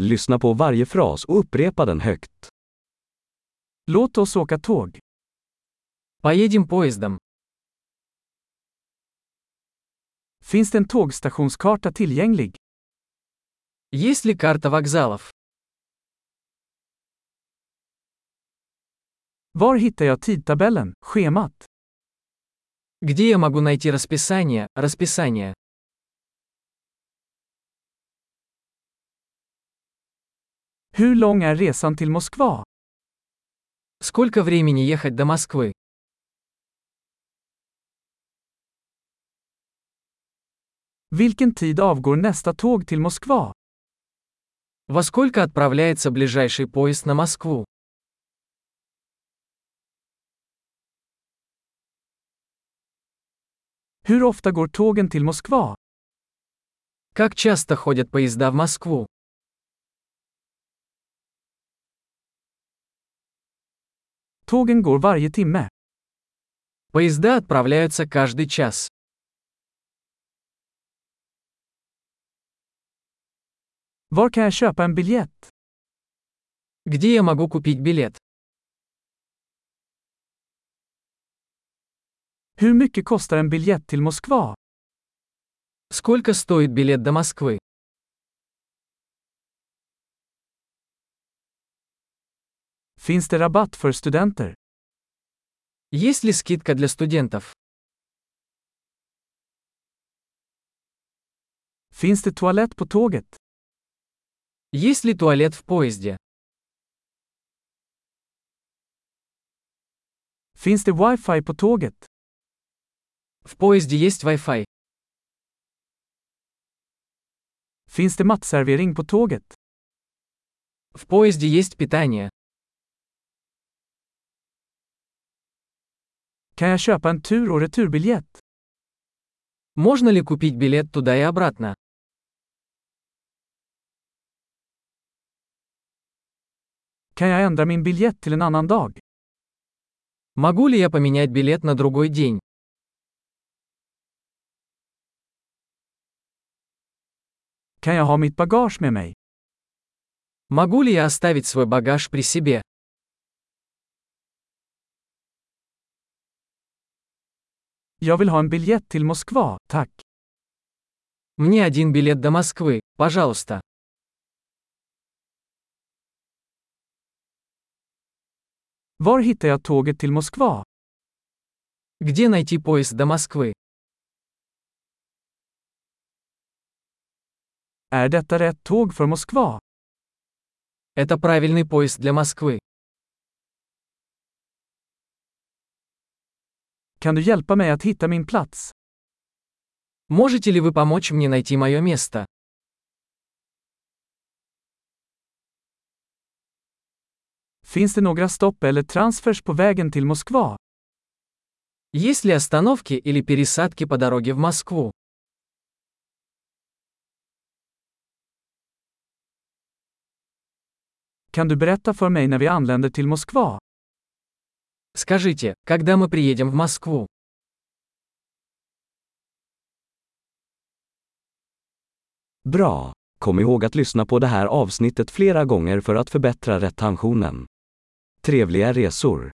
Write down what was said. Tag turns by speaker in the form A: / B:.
A: Lyssna på varje fras och upprepa den högt.
B: Låt oss åka tåg.
C: Поедем поездом.
B: Finns det en tågstationskarta tillgänglig?
C: Есть ли карта вокзалов?
B: Var hittar jag tidtabellen, schemat?
C: Где я могу найти расписание, расписание?
B: Hur lång är resan till Moskva?
C: Сколько времени ехать до Москвы?
B: Vilken tid avgår nästa tåg till Moskva?
C: Во сколько отправляется ближайший поезд на Москву?
B: Hur ofta går tågen till Moskva?
C: Как часто ходят поезда в Москву?
B: Tågen går varje timme.
C: Поезда отправляются каждый час.
B: Var kan jag köpa en biljett?
C: Где я могу купить билет?
B: Hur mycket kostar en biljett till Moskva?
C: Сколько стоит билет до Москвы?
B: Finns det rabatt för studenter?
C: Есть ли скидка для студентов?
B: Finns det toalett på tåget?
C: Есть ли туалет в поезде?
B: Finns det wifi på tåget?
C: В поезде есть Wi-Fi.
B: Finns det matservering på tåget?
C: В поезде есть питание.
B: Kan jag köpa en tur och returbiljett?
C: Можно ли купить билет туда и обратно?
B: Kan jag ändra min biljett till en annan dag?
C: Могу ли я поменять билет на другой день?
B: Kan jag ha mitt bagage med mig?
C: Могу ли я оставить свой багаж при себе?
B: Jag vill ha en biljett till Moskva, tack.
C: Мне один билет до Москвы, пожалуйста.
B: Var hittar jag tåget till Moskva?
C: Где найти поезд до Москвы?
B: Är detta rätt tåg för Moskva?
C: Это правильный поезд для Москвы.
B: Kan du hjälpa mig att hitta min plats?
C: Можете ли вы помочь мне найти мое место?
B: Finns det några stopp eller transfers på vägen till Moskva?
C: Есть ли остановки или пересадки по дороге в Москву?
B: Kan du berätta för mig när vi anländer till Moskva?
C: Скажите, когда мы приедем в Москву?
A: Bra! Kom ihåg att lyssna på det här avsnittet flera gånger för att förbättra retentionen. Trevliga resor!